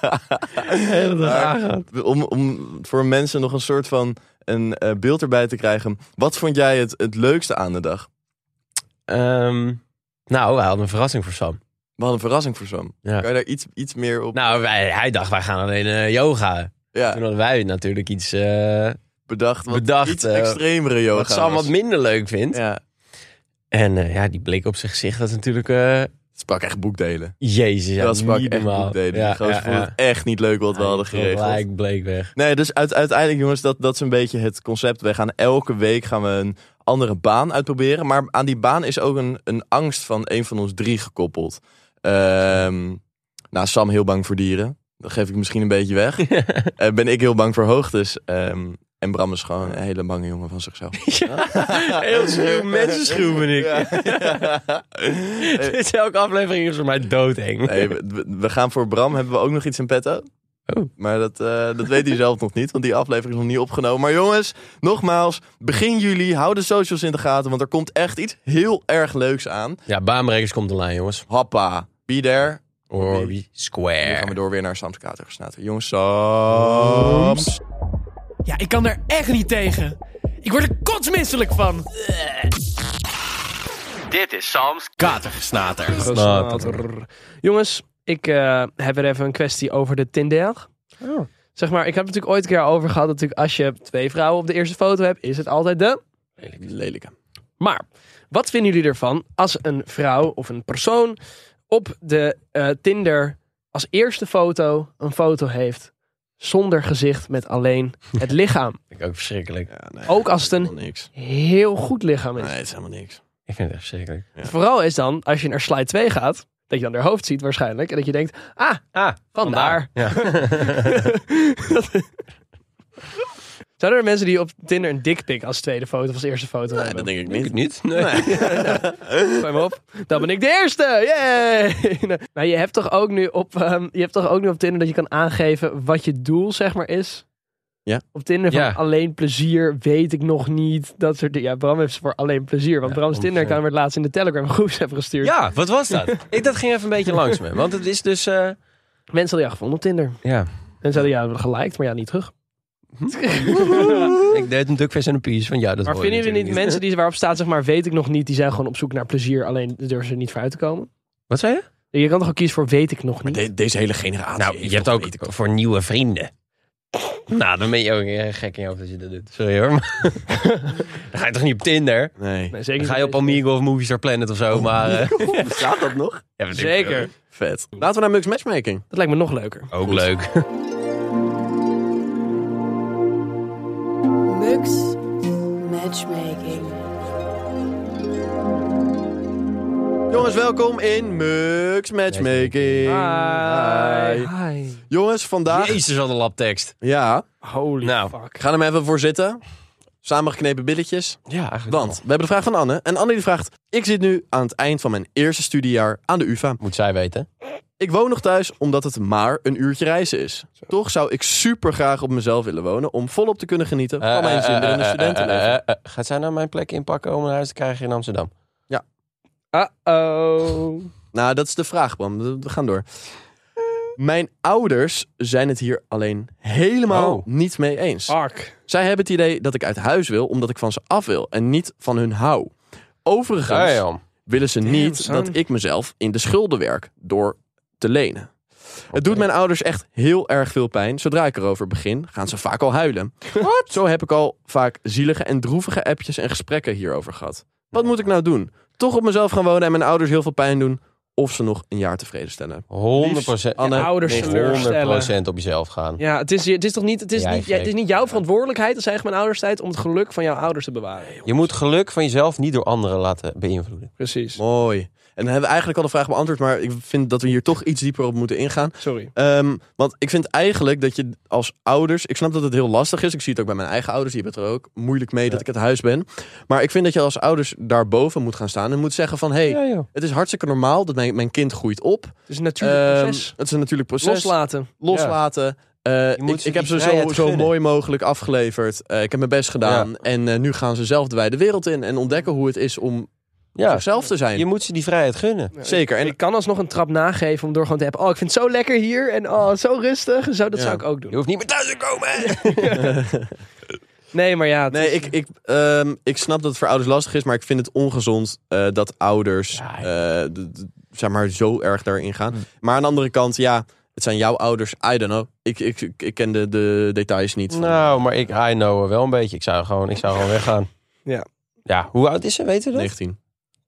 Speaker 3: hele dag
Speaker 2: Maar- om, om voor mensen nog een soort van een eh, beeld erbij te krijgen. Wat vond jij het, het leukste aan de dag?
Speaker 3: Ehm, nou, hij had een verrassing voor Sam.
Speaker 2: We hadden een verrassing voor Sam.
Speaker 3: Ja.
Speaker 2: Kan je daar iets, iets meer op?
Speaker 3: Nou, wij- hij dacht, wij gaan alleen eh, yoga. Toen
Speaker 2: ja,
Speaker 3: hadden wij natuurlijk iets eh,
Speaker 2: bedacht. Wat
Speaker 3: bedacht,
Speaker 2: iets
Speaker 3: eh,
Speaker 2: extremere yoga.
Speaker 3: wat Sam
Speaker 2: was.
Speaker 3: wat minder leuk vindt.
Speaker 2: Ja.
Speaker 3: En eh, ja, die blik op zijn gezicht was natuurlijk... eh,
Speaker 2: Het sprak echt boekdelen.
Speaker 3: jezus, ja,
Speaker 2: dat sprak
Speaker 3: niet
Speaker 2: echt
Speaker 3: normaal.
Speaker 2: boekdelen.
Speaker 3: Ja,
Speaker 2: Die gozer
Speaker 3: ja,
Speaker 2: vond
Speaker 3: ja.
Speaker 2: het echt niet leuk wat we hadden geregeld.
Speaker 3: Gelijk bleek weg.
Speaker 2: Nee, dus uit, uiteindelijk, jongens, dat, dat is een beetje het concept. Wij gaan elke week gaan we een andere baan uitproberen. Maar aan die baan is ook een, een angst van een van ons drie gekoppeld. Ehm, nou, Sam heel bang voor dieren. Dat geef ik misschien een beetje weg. Eh, ben ik heel bang voor hoogtes. Ehm, en Bram is gewoon een hele bange jongen van zichzelf.
Speaker 3: Heel schuw, mensenschuw ben ik.
Speaker 2: Ja.
Speaker 3: Dit is elke aflevering is voor mij doodeng.
Speaker 2: Nee, we- we, we gaan voor Bram. Hebben we ook nog iets in petto?
Speaker 3: Oh.
Speaker 2: Maar dat, eh, dat weet hij zelf nog niet, want die aflevering is nog niet opgenomen. Maar jongens, nogmaals, begin juli. Hou de socials in de gaten, want er komt echt iets heel erg leuks aan.
Speaker 3: Ja, baanbrekers komt online, jongens.
Speaker 2: Happa, be there.
Speaker 3: Orbi
Speaker 2: Nu gaan we
Speaker 3: Square.
Speaker 2: door weer naar Sam's Katergesnater. Jongens, Sams.
Speaker 1: Ja, ik kan er echt niet tegen. Ik word er kotsmisselijk van.
Speaker 7: Dit is Sam's Katergesnater.
Speaker 1: Snater. Jongens, ik eh, heb er even een kwestie over de Tinder. Zeg maar, ik heb het natuurlijk ooit een keer over gehad. dat Natuurlijk, als je twee vrouwen op de eerste foto hebt, is het altijd de.
Speaker 2: Lelijke.
Speaker 1: Maar, wat vinden jullie ervan als een vrouw of een persoon op de eh, Tinder als eerste foto een foto heeft zonder gezicht met alleen het lichaam?
Speaker 3: Vind ik ook verschrikkelijk.
Speaker 2: Ja, nee,
Speaker 1: Ook als het een
Speaker 2: helemaal niks.
Speaker 1: heel goed lichaam
Speaker 2: Nee,
Speaker 1: is.
Speaker 2: het is helemaal niks.
Speaker 3: Ik vind het echt verschrikkelijk.
Speaker 1: Vooral is dan, als je naar slide 2 gaat, dat je dan haar hoofd ziet waarschijnlijk. En dat je denkt, ah,
Speaker 3: Ah,
Speaker 1: vandaar. Zouden er mensen die op Tinder een dikpik als tweede foto of als eerste foto
Speaker 2: Nee,
Speaker 1: hebben?
Speaker 2: dat denk ik
Speaker 3: Ik
Speaker 2: niet.
Speaker 3: niet. Nee.
Speaker 1: Gooi hem op. Dan ben ik de eerste. Yay! nou, je hebt toch ook nu op, ehm, je hebt toch ook nu op Tinder dat je kan aangeven wat je doel zeg maar is.
Speaker 2: Ja.
Speaker 1: Op Tinder van
Speaker 3: Ja.
Speaker 1: alleen plezier weet ik nog niet. Dat soort dingen. Ja, Bram heeft ze voor alleen plezier. Want Bram's
Speaker 3: ongeveer.
Speaker 1: Tinder-account werd laatst in de Telegram groeps hebben gestuurd.
Speaker 3: Ja, wat was dat? Ik, dat ging even een beetje langs me. Want het is dus... eh,
Speaker 1: Mensen hadden jou gevonden op Tinder.
Speaker 3: ja.
Speaker 1: En zeiden ja, we hebben geliked, maar ja, niet terug.
Speaker 3: Ik deed een duckface en een piece van ja, dat
Speaker 1: Maar
Speaker 3: hoor je
Speaker 1: vinden jullie
Speaker 3: natuurlijk
Speaker 1: niet mensen die waarop staat, zeg maar, weet ik nog niet, die zijn gewoon op zoek naar plezier, alleen durven ze er niet voor uit te komen?
Speaker 3: Wat zei je?
Speaker 1: Je kan toch ook kiezen voor weet ik nog niet?
Speaker 2: De- deze hele generatie.
Speaker 3: Nou,
Speaker 2: heeft
Speaker 3: je hebt
Speaker 2: nog
Speaker 3: ook
Speaker 2: niet-
Speaker 3: voor nieuwe vrienden. Nou, dan ben je ook eh, gek in je hoofd als je dat doet. Sorry hoor. maar- dan ga je toch niet op Tinder?
Speaker 2: Nee.
Speaker 1: Nee, zeker
Speaker 3: Dan
Speaker 1: niet
Speaker 3: ga je op
Speaker 1: deze-
Speaker 3: Amigo of Movie Star Planet of zo. Maar, eh,
Speaker 2: Bestaat dat nog?
Speaker 3: ja, wat ik-
Speaker 1: Zeker.
Speaker 2: Vet. Laten we naar Mux Matchmaking.
Speaker 1: Dat lijkt me nog leuker.
Speaker 3: Ook leuk.
Speaker 4: Mux Matchmaking.
Speaker 2: Jongens, welkom in Mux Matchmaking. Hi.
Speaker 1: Hi.
Speaker 2: Jongens, vandaag...
Speaker 3: Jezus, wat een labtekst.
Speaker 2: Ja,
Speaker 1: Holy
Speaker 3: Nou,
Speaker 1: fuck.
Speaker 2: ga er maar even voor zitten. Samengeknepen billetjes.
Speaker 3: Ja, eigenlijk
Speaker 2: Want we hebben de vraag van Anne. En Anne die vraagt... Ik zit nu aan het eind van mijn eerste studiejaar aan de UvA.
Speaker 3: Moet zij weten.
Speaker 2: Ik woon nog thuis omdat het maar een uurtje reizen is. Toch zou ik super graag op mezelf willen wonen... om volop te kunnen genieten van mijn
Speaker 3: Eh, eh,
Speaker 2: zin in
Speaker 3: eh,
Speaker 2: een
Speaker 3: eh,
Speaker 2: studentenleven.
Speaker 3: eh, eh, eh, gaat zij nou mijn plek inpakken om een huis te krijgen in Amsterdam?
Speaker 1: Uh-oh.
Speaker 2: Nou, dat is de vraag, Bram. We gaan door. Mijn ouders zijn het hier alleen helemaal
Speaker 3: Oh.
Speaker 2: niet mee eens.
Speaker 1: Ark.
Speaker 2: Zij hebben het idee dat ik uit huis wil omdat ik van ze af wil en niet van hun hou. Overigens
Speaker 3: Ga je om.
Speaker 2: willen ze niet
Speaker 1: son.
Speaker 2: dat ik mezelf in de schulden werk door te lenen. Het doet mijn ouders echt heel erg veel pijn. Zodra ik erover begin, gaan ze vaak al huilen. Zo heb ik al vaak zielige en droevige appjes en gesprekken hierover gehad. Wat moet ik nou doen? Toch op mezelf gaan wonen en mijn ouders heel veel pijn doen? of ze nog een jaar tevreden stellen.
Speaker 3: 100
Speaker 2: Anne,
Speaker 1: je ouders
Speaker 2: negen-
Speaker 1: teleur.
Speaker 3: procent op jezelf gaan.
Speaker 1: Ja, het is, het is toch niet, het is
Speaker 3: Jij
Speaker 1: niet, ja, het is
Speaker 3: geeft-
Speaker 1: niet jouw verantwoordelijkheid als eigen mijn ouders tijd om het geluk van jouw ouders te bewaren.
Speaker 3: Je moet geluk van jezelf niet door anderen laten beïnvloeden.
Speaker 1: Precies.
Speaker 2: Mooi. En dan hebben we eigenlijk al de vraag beantwoord, maar ik vind dat we hier toch iets dieper op moeten ingaan.
Speaker 1: Sorry.
Speaker 2: Ehm, want ik vind eigenlijk dat je als ouders. Ik snap dat het heel lastig is. Ik zie het ook bij mijn eigen ouders. Die hebben het er ook moeilijk mee dat ik het huis ben. Maar ik vind dat je als ouders daarboven moet gaan staan. En moet zeggen: van... hé, hey,
Speaker 3: joh.
Speaker 2: het is hartstikke normaal dat mijn, mijn kind groeit op.
Speaker 1: Het is een natuurlijk
Speaker 2: Ehm,
Speaker 1: proces.
Speaker 2: Het is een natuurlijk proces.
Speaker 1: Loslaten.
Speaker 2: Loslaten. Eh,
Speaker 3: moet
Speaker 2: ik,
Speaker 3: ze
Speaker 2: ik heb
Speaker 3: die
Speaker 2: ze zo,
Speaker 3: vrijheid
Speaker 2: zo
Speaker 3: gunnen.
Speaker 2: mooi mogelijk afgeleverd. Eh, ik heb mijn best gedaan. En eh, nu gaan ze zelf de wijde wereld in. En ontdekken hoe het is om
Speaker 3: Ja,
Speaker 2: zichzelf te zijn.
Speaker 3: je moet ze die vrijheid gunnen.
Speaker 2: Zeker.
Speaker 1: En
Speaker 2: En
Speaker 1: ik kan alsnog een trap nageven om door gewoon te hebben. Oh, ik vind het zo lekker hier. En oh, zo rustig. En zo, dat
Speaker 2: Ja.
Speaker 1: zou ik ook
Speaker 3: Je
Speaker 1: doen.
Speaker 3: hoeft niet meer thuis te komen.
Speaker 1: Nee, maar ja. het
Speaker 2: Nee,
Speaker 1: is-
Speaker 2: ik, ik, ehm, ik snap dat het voor ouders lastig is, maar ik vind het ongezond eh, dat ouders
Speaker 3: Ja, Mm.
Speaker 2: eh, d- d- zeg maar, zo erg daarin gaan. Maar aan de andere kant, ja, het zijn jouw ouders. I don't know. Ik, ik, ik, ik ken de, de details niet. Van.
Speaker 3: Nou, maar ik, I know wel een beetje. Ik zou gewoon, ik zou gewoon weggaan.
Speaker 1: Ja.
Speaker 3: Ja, hoe oud is ze, weten we dat?
Speaker 2: 19.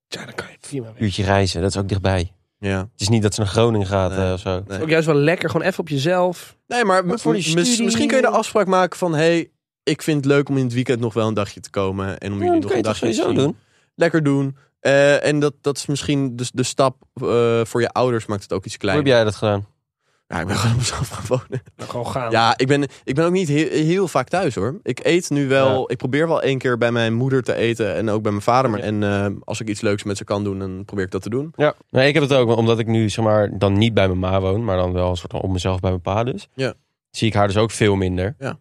Speaker 1: Ja, dan kan je prima weg.
Speaker 3: Uurtje reizen, dat is ook dichtbij.
Speaker 2: Ja.
Speaker 3: Het is niet dat ze naar Groningen gaat
Speaker 2: Nee.
Speaker 3: eh, of zo.
Speaker 1: Het is ook juist wel lekker. Gewoon even op jezelf.
Speaker 2: Nee, maar
Speaker 3: Maar voor die
Speaker 2: mis-
Speaker 3: studie-
Speaker 2: misschien kun je de afspraak maken van... hey, ik vind het leuk om in het weekend nog wel een dagje te komen. En om
Speaker 3: Ja,
Speaker 2: jullie
Speaker 3: dat
Speaker 2: nog
Speaker 3: kan
Speaker 2: een
Speaker 3: je toch
Speaker 2: dagje te
Speaker 3: sowieso
Speaker 2: zien.
Speaker 3: doen?
Speaker 2: Lekker doen. Eh, en dat, dat is misschien de, de stap eh, voor je ouders maakt het ook iets
Speaker 3: Hoe heb
Speaker 2: kleiner.
Speaker 3: jij dat gedaan?
Speaker 2: Ja, ik ben gewoon op mezelf gaan wonen.
Speaker 1: Maar gewoon gaan.
Speaker 2: Ja, ik ben, ik ben ook niet heel, heel vaak thuis hoor. Ik eet nu wel.
Speaker 3: Ja.
Speaker 2: Ik probeer wel één keer bij mijn moeder te eten en ook bij mijn vader. Maar, en eh, als ik iets leuks met ze kan doen, dan probeer ik dat te doen.
Speaker 3: Ja, nee, ik heb het ook, want omdat ik nu zeg maar dan niet bij mijn ma woon, maar dan wel een soort van op mezelf bij mijn pa dus.
Speaker 2: Ja.
Speaker 3: Zie ik haar dus ook veel minder.
Speaker 2: Ja.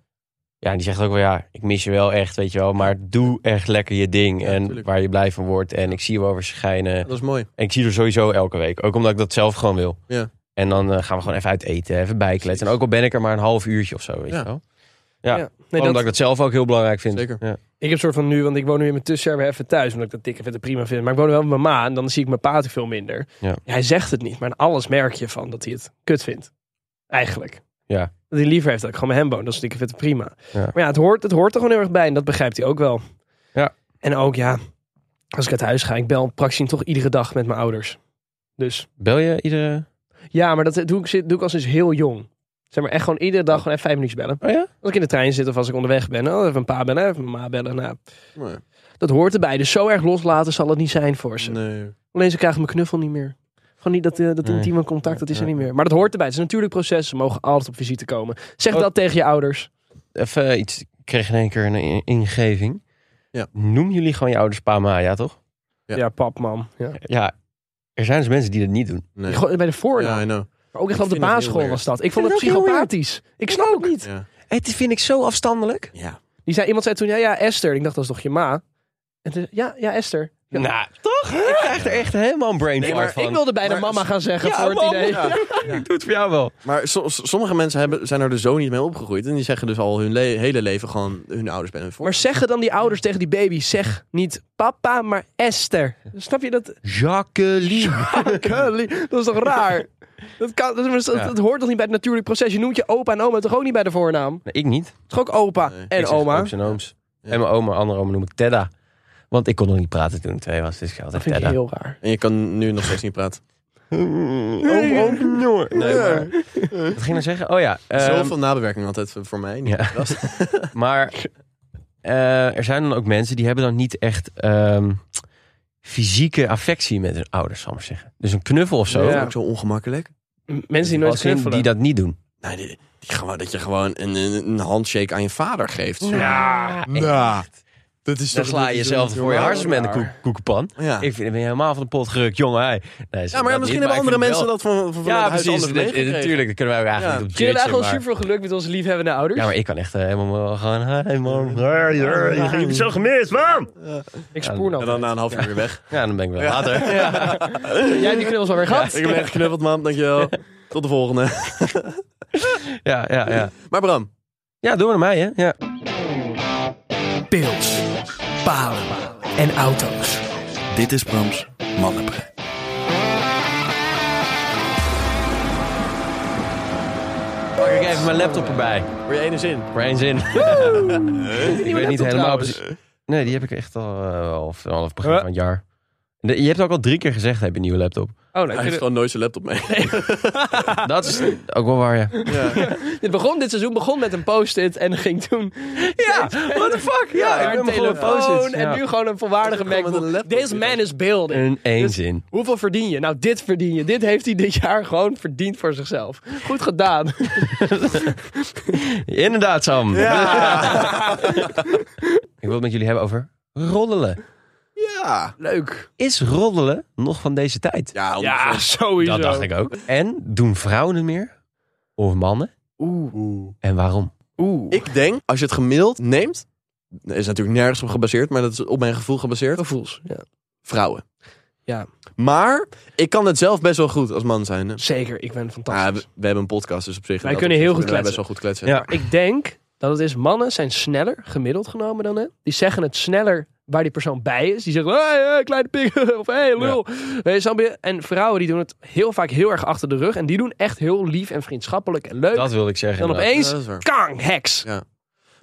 Speaker 3: Ja, en die zegt ook wel ja, ik mis je wel echt, weet je wel, maar doe echt lekker je ding
Speaker 2: Ja,
Speaker 3: en
Speaker 2: tuurlijk.
Speaker 3: waar je blij van wordt en ik zie je wel verschijnen.
Speaker 2: Dat is mooi.
Speaker 3: En ik zie er sowieso elke week, ook omdat ik dat zelf gewoon wil.
Speaker 2: Ja.
Speaker 3: En dan eh, gaan we gewoon even uit eten, even bijkletsen. En ook al ben ik er maar een half uurtje of zo, weet
Speaker 2: Ja.
Speaker 3: je wel.
Speaker 1: Ja.
Speaker 3: Ja.
Speaker 1: Nee,
Speaker 3: omdat
Speaker 1: dat,
Speaker 3: ik dat zelf ook heel belangrijk vind.
Speaker 2: Zeker.
Speaker 3: Ja.
Speaker 1: ik heb soort van nu, want ik woon nu in mijn tussenjaar weer even thuis. Omdat ik dat dikke vette prima vind. Maar ik woon wel met mijn ma. En dan zie ik mijn pa natuurlijk veel minder.
Speaker 3: Ja.
Speaker 1: Hij zegt het niet. Maar aan alles merk je van dat hij het kut vindt. Eigenlijk.
Speaker 3: Ja.
Speaker 1: Dat hij liever heeft dat ik gewoon met hem woon. Dat is dikke vette prima.
Speaker 3: Ja.
Speaker 1: Maar ja, het hoort, het hoort er gewoon heel erg bij. En dat begrijpt hij ook wel.
Speaker 3: Ja.
Speaker 1: En ook ja, als ik uit huis ga. Ik bel praktisch toch iedere dag met mijn ouders. Dus...
Speaker 3: Bel je iedere...
Speaker 1: Ja, maar dat doe ik, doe ik al sinds heel jong. Zeg maar echt gewoon iedere dag gewoon even vijf minuutjes bellen.
Speaker 3: Oh ja?
Speaker 1: Als ik in de trein zit of als ik onderweg ben. Oh, even een paar bellen, even mijn ma bellen. Nou,
Speaker 2: Nee.
Speaker 1: dat hoort erbij. Dus zo erg loslaten zal het niet zijn voor ze. Alleen ze krijgen mijn knuffel niet meer. Gewoon niet dat, eh, dat
Speaker 3: Nee.
Speaker 1: intieme contact, dat is er
Speaker 3: Nee.
Speaker 1: niet meer. Maar dat hoort erbij. Het is een natuurlijk proces. Ze mogen altijd op visite komen. Zeg
Speaker 3: Oh.
Speaker 1: dat tegen je ouders.
Speaker 3: Even eh, iets, ik kreeg in één keer een in- ingeving.
Speaker 2: Ja.
Speaker 3: Noem jullie gewoon je ouders pa en ma, ja toch?
Speaker 2: Ja.
Speaker 1: Ja, pap, mam. Ja.
Speaker 3: Ja, er zijn dus mensen die dat niet doen.
Speaker 2: Nee.
Speaker 1: Gewoon eh, Bij de voornaam.
Speaker 2: Ja, I know.
Speaker 1: Maar ook echt
Speaker 2: Ik
Speaker 1: op de
Speaker 2: vind het heel
Speaker 1: basisschool
Speaker 2: weird.
Speaker 1: was dat. Ik
Speaker 3: vind
Speaker 1: vond het
Speaker 3: het ook heel weird.
Speaker 1: psychopathisch. Ik snap het niet.
Speaker 2: Ja.
Speaker 3: Het vind ik zo afstandelijk.
Speaker 2: ja.
Speaker 1: Die zei, iemand zei toen, ja, ja, Esther. Ik dacht, dat is toch je ma? En toen, ja, ja, Esther. Ja.
Speaker 3: Nou, toch? Ik krijg er echt helemaal een brain
Speaker 2: Nee,
Speaker 3: fart
Speaker 2: maar
Speaker 3: van.
Speaker 1: Ik wilde bijna
Speaker 2: Maar-
Speaker 1: mama gaan zeggen
Speaker 3: Ja,
Speaker 1: voor het
Speaker 3: mama.
Speaker 1: idee.
Speaker 3: Ik doe het voor jou wel.
Speaker 2: Maar so- so- sommige mensen hebben, zijn er dus zo niet mee opgegroeid. En die zeggen dus al hun le- hele leven gewoon hun ouders bij hun voor.
Speaker 1: Maar zeggen dan die ouders tegen die baby, zeg niet papa, maar Esther. Snap je dat?
Speaker 3: Jacqueline.
Speaker 1: Kelly, dat is toch raar? Dat, kan, dat, dat-
Speaker 3: Ja.
Speaker 1: dat hoort toch niet bij het natuurlijk proces? Je noemt je opa en oma toch ook niet bij de voornaam?
Speaker 3: Nee, ik niet.
Speaker 1: Toch ook opa
Speaker 2: Nee,
Speaker 1: en
Speaker 3: Ik zeg
Speaker 1: oma?
Speaker 3: ooms en ooms.
Speaker 2: Ja.
Speaker 3: En mijn oma, andere oma noem ik Tedda. Want ik kon nog niet praten toen ik twee was, dus ik had
Speaker 1: Dat
Speaker 3: altijd
Speaker 1: vind ik
Speaker 3: Tedda.
Speaker 1: heel raar.
Speaker 2: En je kan nu nog steeds niet praten. Oh,
Speaker 3: Oom, oom, jongen. Nee, maar... Wat ging ik nou zeggen? Oh ja. ehm,
Speaker 2: Zoveel nabewerking altijd voor mij. Niet
Speaker 3: Ja. Oh.
Speaker 2: Dat is-
Speaker 3: Maar eh, er zijn dan ook mensen die hebben dan niet echt ehm, fysieke affectie met hun ouders, zal ik maar zeggen. Dus een knuffel of zo.
Speaker 2: Dat is
Speaker 1: Ja.
Speaker 2: ook zo ongemakkelijk.
Speaker 1: M- Mensen die nooit
Speaker 3: Als in
Speaker 1: knuffelen.
Speaker 3: die dat niet doen.
Speaker 2: Nee, die, die gewoon, dat je gewoon een, een, een handshake aan je vader geeft.
Speaker 3: Ja,
Speaker 2: Nou, dat is
Speaker 3: Dan
Speaker 2: toch-
Speaker 3: sla
Speaker 2: dat
Speaker 3: je
Speaker 2: is
Speaker 3: jezelf
Speaker 2: toch
Speaker 3: voor je
Speaker 2: normaal?
Speaker 3: hartjes met een koek, koekenpan.
Speaker 2: Ja.
Speaker 3: Ik vind, ik ben helemaal van de pot gerukt, jongen. Hey. Nee,
Speaker 2: Ja, maar ja, misschien hebben andere mensen dat van, van
Speaker 3: Ja,
Speaker 2: het huis
Speaker 3: precies.
Speaker 2: anders
Speaker 3: dat-
Speaker 2: meegekregen.
Speaker 3: Natuurlijk, dat kunnen wij ook eigenlijk
Speaker 2: Ja.
Speaker 3: niet op
Speaker 1: Ze hebben eigenlijk
Speaker 3: judgen, maar-
Speaker 1: wel super veel geluk met onze liefhebbende ouders.
Speaker 3: Ja, maar ik kan echt eh, helemaal gaan. Hey man, hey, hey, je hebt me zo gemist, man.
Speaker 1: ik spoor nou.
Speaker 2: En dan na een half uur weer weg.
Speaker 3: Ja, dan ben ik wel later.
Speaker 1: Jij hebt die knuffels alweer gehad?
Speaker 2: Ik heb echt geknuffeld, man. Dankjewel. Tot de volgende.
Speaker 3: Ja, ja, ja.
Speaker 2: Maar Bram,
Speaker 3: Ja, doen we naar mij, hè? Ja.
Speaker 1: Pils, palen en auto's.
Speaker 5: Dit is Brams Mannenbrein.
Speaker 3: Pak ik even mijn laptop erbij.
Speaker 2: voor je ene zin.
Speaker 3: Voor één zin. ik weet niet
Speaker 1: laptop
Speaker 3: helemaal
Speaker 1: trouwens.
Speaker 3: precies. Nee, die heb ik echt al eh, half, half begin van het jaar. De- je hebt ook al drie keer gezegd, heb je een nieuwe laptop.
Speaker 1: Oh, nee.
Speaker 2: Hij heeft gewoon nooit zijn laptop mee.
Speaker 3: Dat is ook wel waar, ja.
Speaker 1: dit, begon, dit seizoen begon met een post-it en ging toen...
Speaker 3: Ja, what the fuck? Ja,
Speaker 1: naar
Speaker 3: ik ben
Speaker 1: een
Speaker 3: begonnen met
Speaker 1: telefoon
Speaker 3: post
Speaker 1: en nu gewoon een volwaardige
Speaker 2: Gewoon met een
Speaker 1: MacBook.
Speaker 2: laptop,
Speaker 1: This
Speaker 2: ja.
Speaker 1: man is building.
Speaker 3: Een één zin.
Speaker 1: Hoeveel verdien je? Nou, dit verdien je. Dit heeft hij dit jaar gewoon verdiend voor zichzelf. Goed gedaan.
Speaker 3: Inderdaad, Sam. ik wil het met jullie hebben over roddelen.
Speaker 2: Ja.
Speaker 1: Leuk.
Speaker 3: Is roddelen nog van deze tijd?
Speaker 2: Ja,
Speaker 1: Ja, sowieso.
Speaker 3: eh, Dat dacht ik ook. En doen vrouwen het meer? Of mannen?
Speaker 1: Oeh,
Speaker 3: En waarom?
Speaker 1: oeh.
Speaker 2: Ik denk, als je het gemiddeld neemt, dat is natuurlijk nergens op gebaseerd, maar dat is op mijn gevoel gebaseerd.
Speaker 1: gevoels. Ja.
Speaker 2: Vrouwen.
Speaker 1: Ja.
Speaker 2: Maar ik kan het zelf best wel goed als man zijn. hè.
Speaker 1: Zeker, ik ben fantastisch.
Speaker 2: Ah, we, we hebben een podcast, dus op zich.
Speaker 1: Wij
Speaker 2: in dat
Speaker 1: kunnen
Speaker 2: opzicht
Speaker 1: heel goed
Speaker 2: kunnen wij best
Speaker 1: kletsen.
Speaker 2: wel goed kletsen.
Speaker 3: Ja.
Speaker 1: Ik denk dat het is, mannen zijn sneller, gemiddeld genomen dan hè. Die zeggen het sneller waar die persoon bij is. Die zeggen, hey, hey, kleine pik, of hey, lul. Weet je, snap je? En vrouwen die doen het heel vaak heel erg achter de rug. En die doen echt heel lief en vriendschappelijk en leuk.
Speaker 3: Dat wil ik zeggen.
Speaker 1: dan
Speaker 3: inderdaad.
Speaker 1: opeens,
Speaker 2: Ja, dat is waar.
Speaker 1: kang, heks.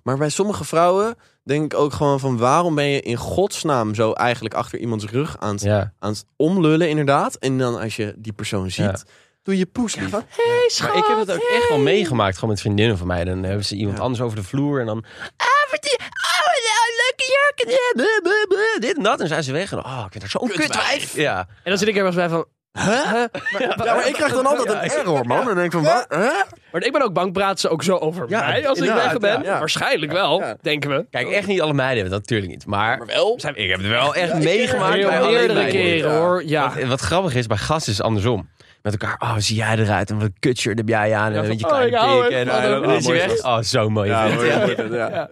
Speaker 2: Maar bij sommige vrouwen denk ik ook gewoon van waarom ben je in godsnaam zo eigenlijk achter iemands rug aan het,
Speaker 3: Ja.
Speaker 2: aan het omlullen inderdaad. En dan als je die persoon ziet,
Speaker 3: Ja.
Speaker 2: doe je poes lief.
Speaker 1: Hey,
Speaker 3: Maar ik heb het ook echt wel meegemaakt, gewoon met vriendinnen van mij. Dan hebben ze iemand
Speaker 2: Ja.
Speaker 3: anders over de vloer en dan... Ah, wat die... Oh, nou, leuke jurk. en dit, bleh, bleh, bleh, Dit en dat. En dan zijn ze weg. En dan, oh, ik vind haar zo'n kutwijf. Ja.
Speaker 1: En dan zit ik er wel eens bij van... Huh? Maar,
Speaker 2: Ja, maar ik krijg dan altijd een error, man. En denk van, wat? Hè?
Speaker 1: maar ik ben ook bang, praten ze ook zo over
Speaker 3: Ja,
Speaker 1: mij als ik
Speaker 3: inderdaad,
Speaker 1: weg ben?
Speaker 2: ja.
Speaker 1: Waarschijnlijk wel, denken we.
Speaker 3: Kijk, echt niet alle meiden hebben dat natuurlijk niet. Maar,
Speaker 2: wel.
Speaker 3: Zijn- ik heb het wel echt meegemaakt
Speaker 1: Heel
Speaker 3: bij alleen
Speaker 1: meerdere
Speaker 3: meiden.
Speaker 1: keren hoor, ja.
Speaker 3: Wat, wat grappig is, bij gasten is het andersom. Met elkaar, oh, zie jij eruit en wat een kutshirt heb jij aan. En
Speaker 1: van,
Speaker 3: weet je
Speaker 1: oh, ik
Speaker 3: kleine
Speaker 1: hou
Speaker 3: pik.
Speaker 1: het
Speaker 3: En
Speaker 1: van hem.
Speaker 3: en dan is hij
Speaker 2: Ja,
Speaker 3: weg. Oh, zo mooi.
Speaker 2: Ja,
Speaker 3: vent.
Speaker 2: hoor,
Speaker 3: Ja.
Speaker 2: dat wordt het, ja.
Speaker 1: Ja.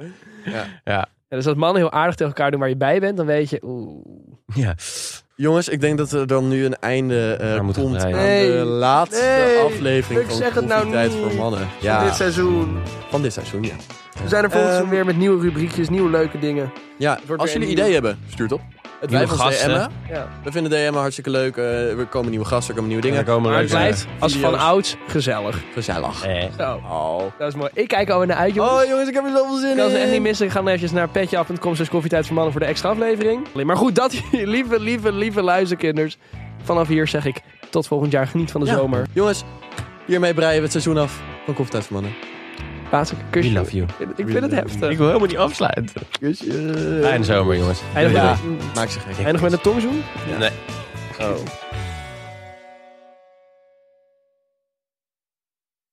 Speaker 3: Ja.
Speaker 1: Ja, dus als mannen heel aardig tegen elkaar doen waar je bij bent, dan weet je... Oeh.
Speaker 3: Ja.
Speaker 2: Jongens, ik denk dat er dan nu een einde eh,
Speaker 3: Daar moeten we
Speaker 2: komt aan
Speaker 3: breien.
Speaker 1: Nee.
Speaker 2: de laatste
Speaker 1: Nee.
Speaker 2: aflevering
Speaker 1: Ik
Speaker 2: van
Speaker 1: zeg het nou
Speaker 2: Koffietijd
Speaker 1: niet.
Speaker 2: voor Mannen. Ja, van dit,
Speaker 1: seizoen.
Speaker 2: seizoen, ja.
Speaker 1: We zijn er volgens
Speaker 2: Ehm,
Speaker 1: mij weer met nieuwe rubriekjes, nieuwe leuke dingen.
Speaker 2: ja
Speaker 1: wordt
Speaker 2: als
Speaker 1: weer
Speaker 2: jullie
Speaker 1: een
Speaker 2: ideeën hebben, stuur het op. Het
Speaker 3: Nieuwe
Speaker 2: blijft ons
Speaker 3: gasten.
Speaker 2: DM'en.
Speaker 1: Ja.
Speaker 2: We vinden DM'en hartstikke leuk. eh, er komen nieuwe gasten, er komen nieuwe
Speaker 3: Dingen
Speaker 2: dingen.
Speaker 3: komen
Speaker 1: Maar het
Speaker 3: leuk.
Speaker 1: blijft als
Speaker 2: video's.
Speaker 1: van ouds gezellig.
Speaker 2: Gezellig.
Speaker 3: Eh,
Speaker 1: Zo,
Speaker 2: Oh.
Speaker 1: dat is mooi. Ik kijk alweer naar uit, jongens.
Speaker 2: Oh jongens, ik heb er zoveel zin
Speaker 1: Ik
Speaker 2: in.
Speaker 1: kan ze echt niet missen. Ga dan even naar petjeaf.com slash koffietijd voor mannen voor de extra aflevering. Maar goed, dat lieve, lieve, lieve luisterkinders. Vanaf hier zeg ik tot volgend jaar. Geniet van de
Speaker 2: Ja.
Speaker 1: zomer.
Speaker 2: Jongens, hiermee breien we het seizoen af van Koffietijd voor Mannen.
Speaker 1: Laatste
Speaker 3: We
Speaker 1: kusje.
Speaker 3: love you.
Speaker 1: Ik vind het heftig.
Speaker 3: Ik wil helemaal niet afsluiten. Fijne zomer, jongens.
Speaker 1: Eindig,
Speaker 2: Maak ze gek.
Speaker 1: eindig met een tongzoen?
Speaker 3: Nee.
Speaker 1: Oh.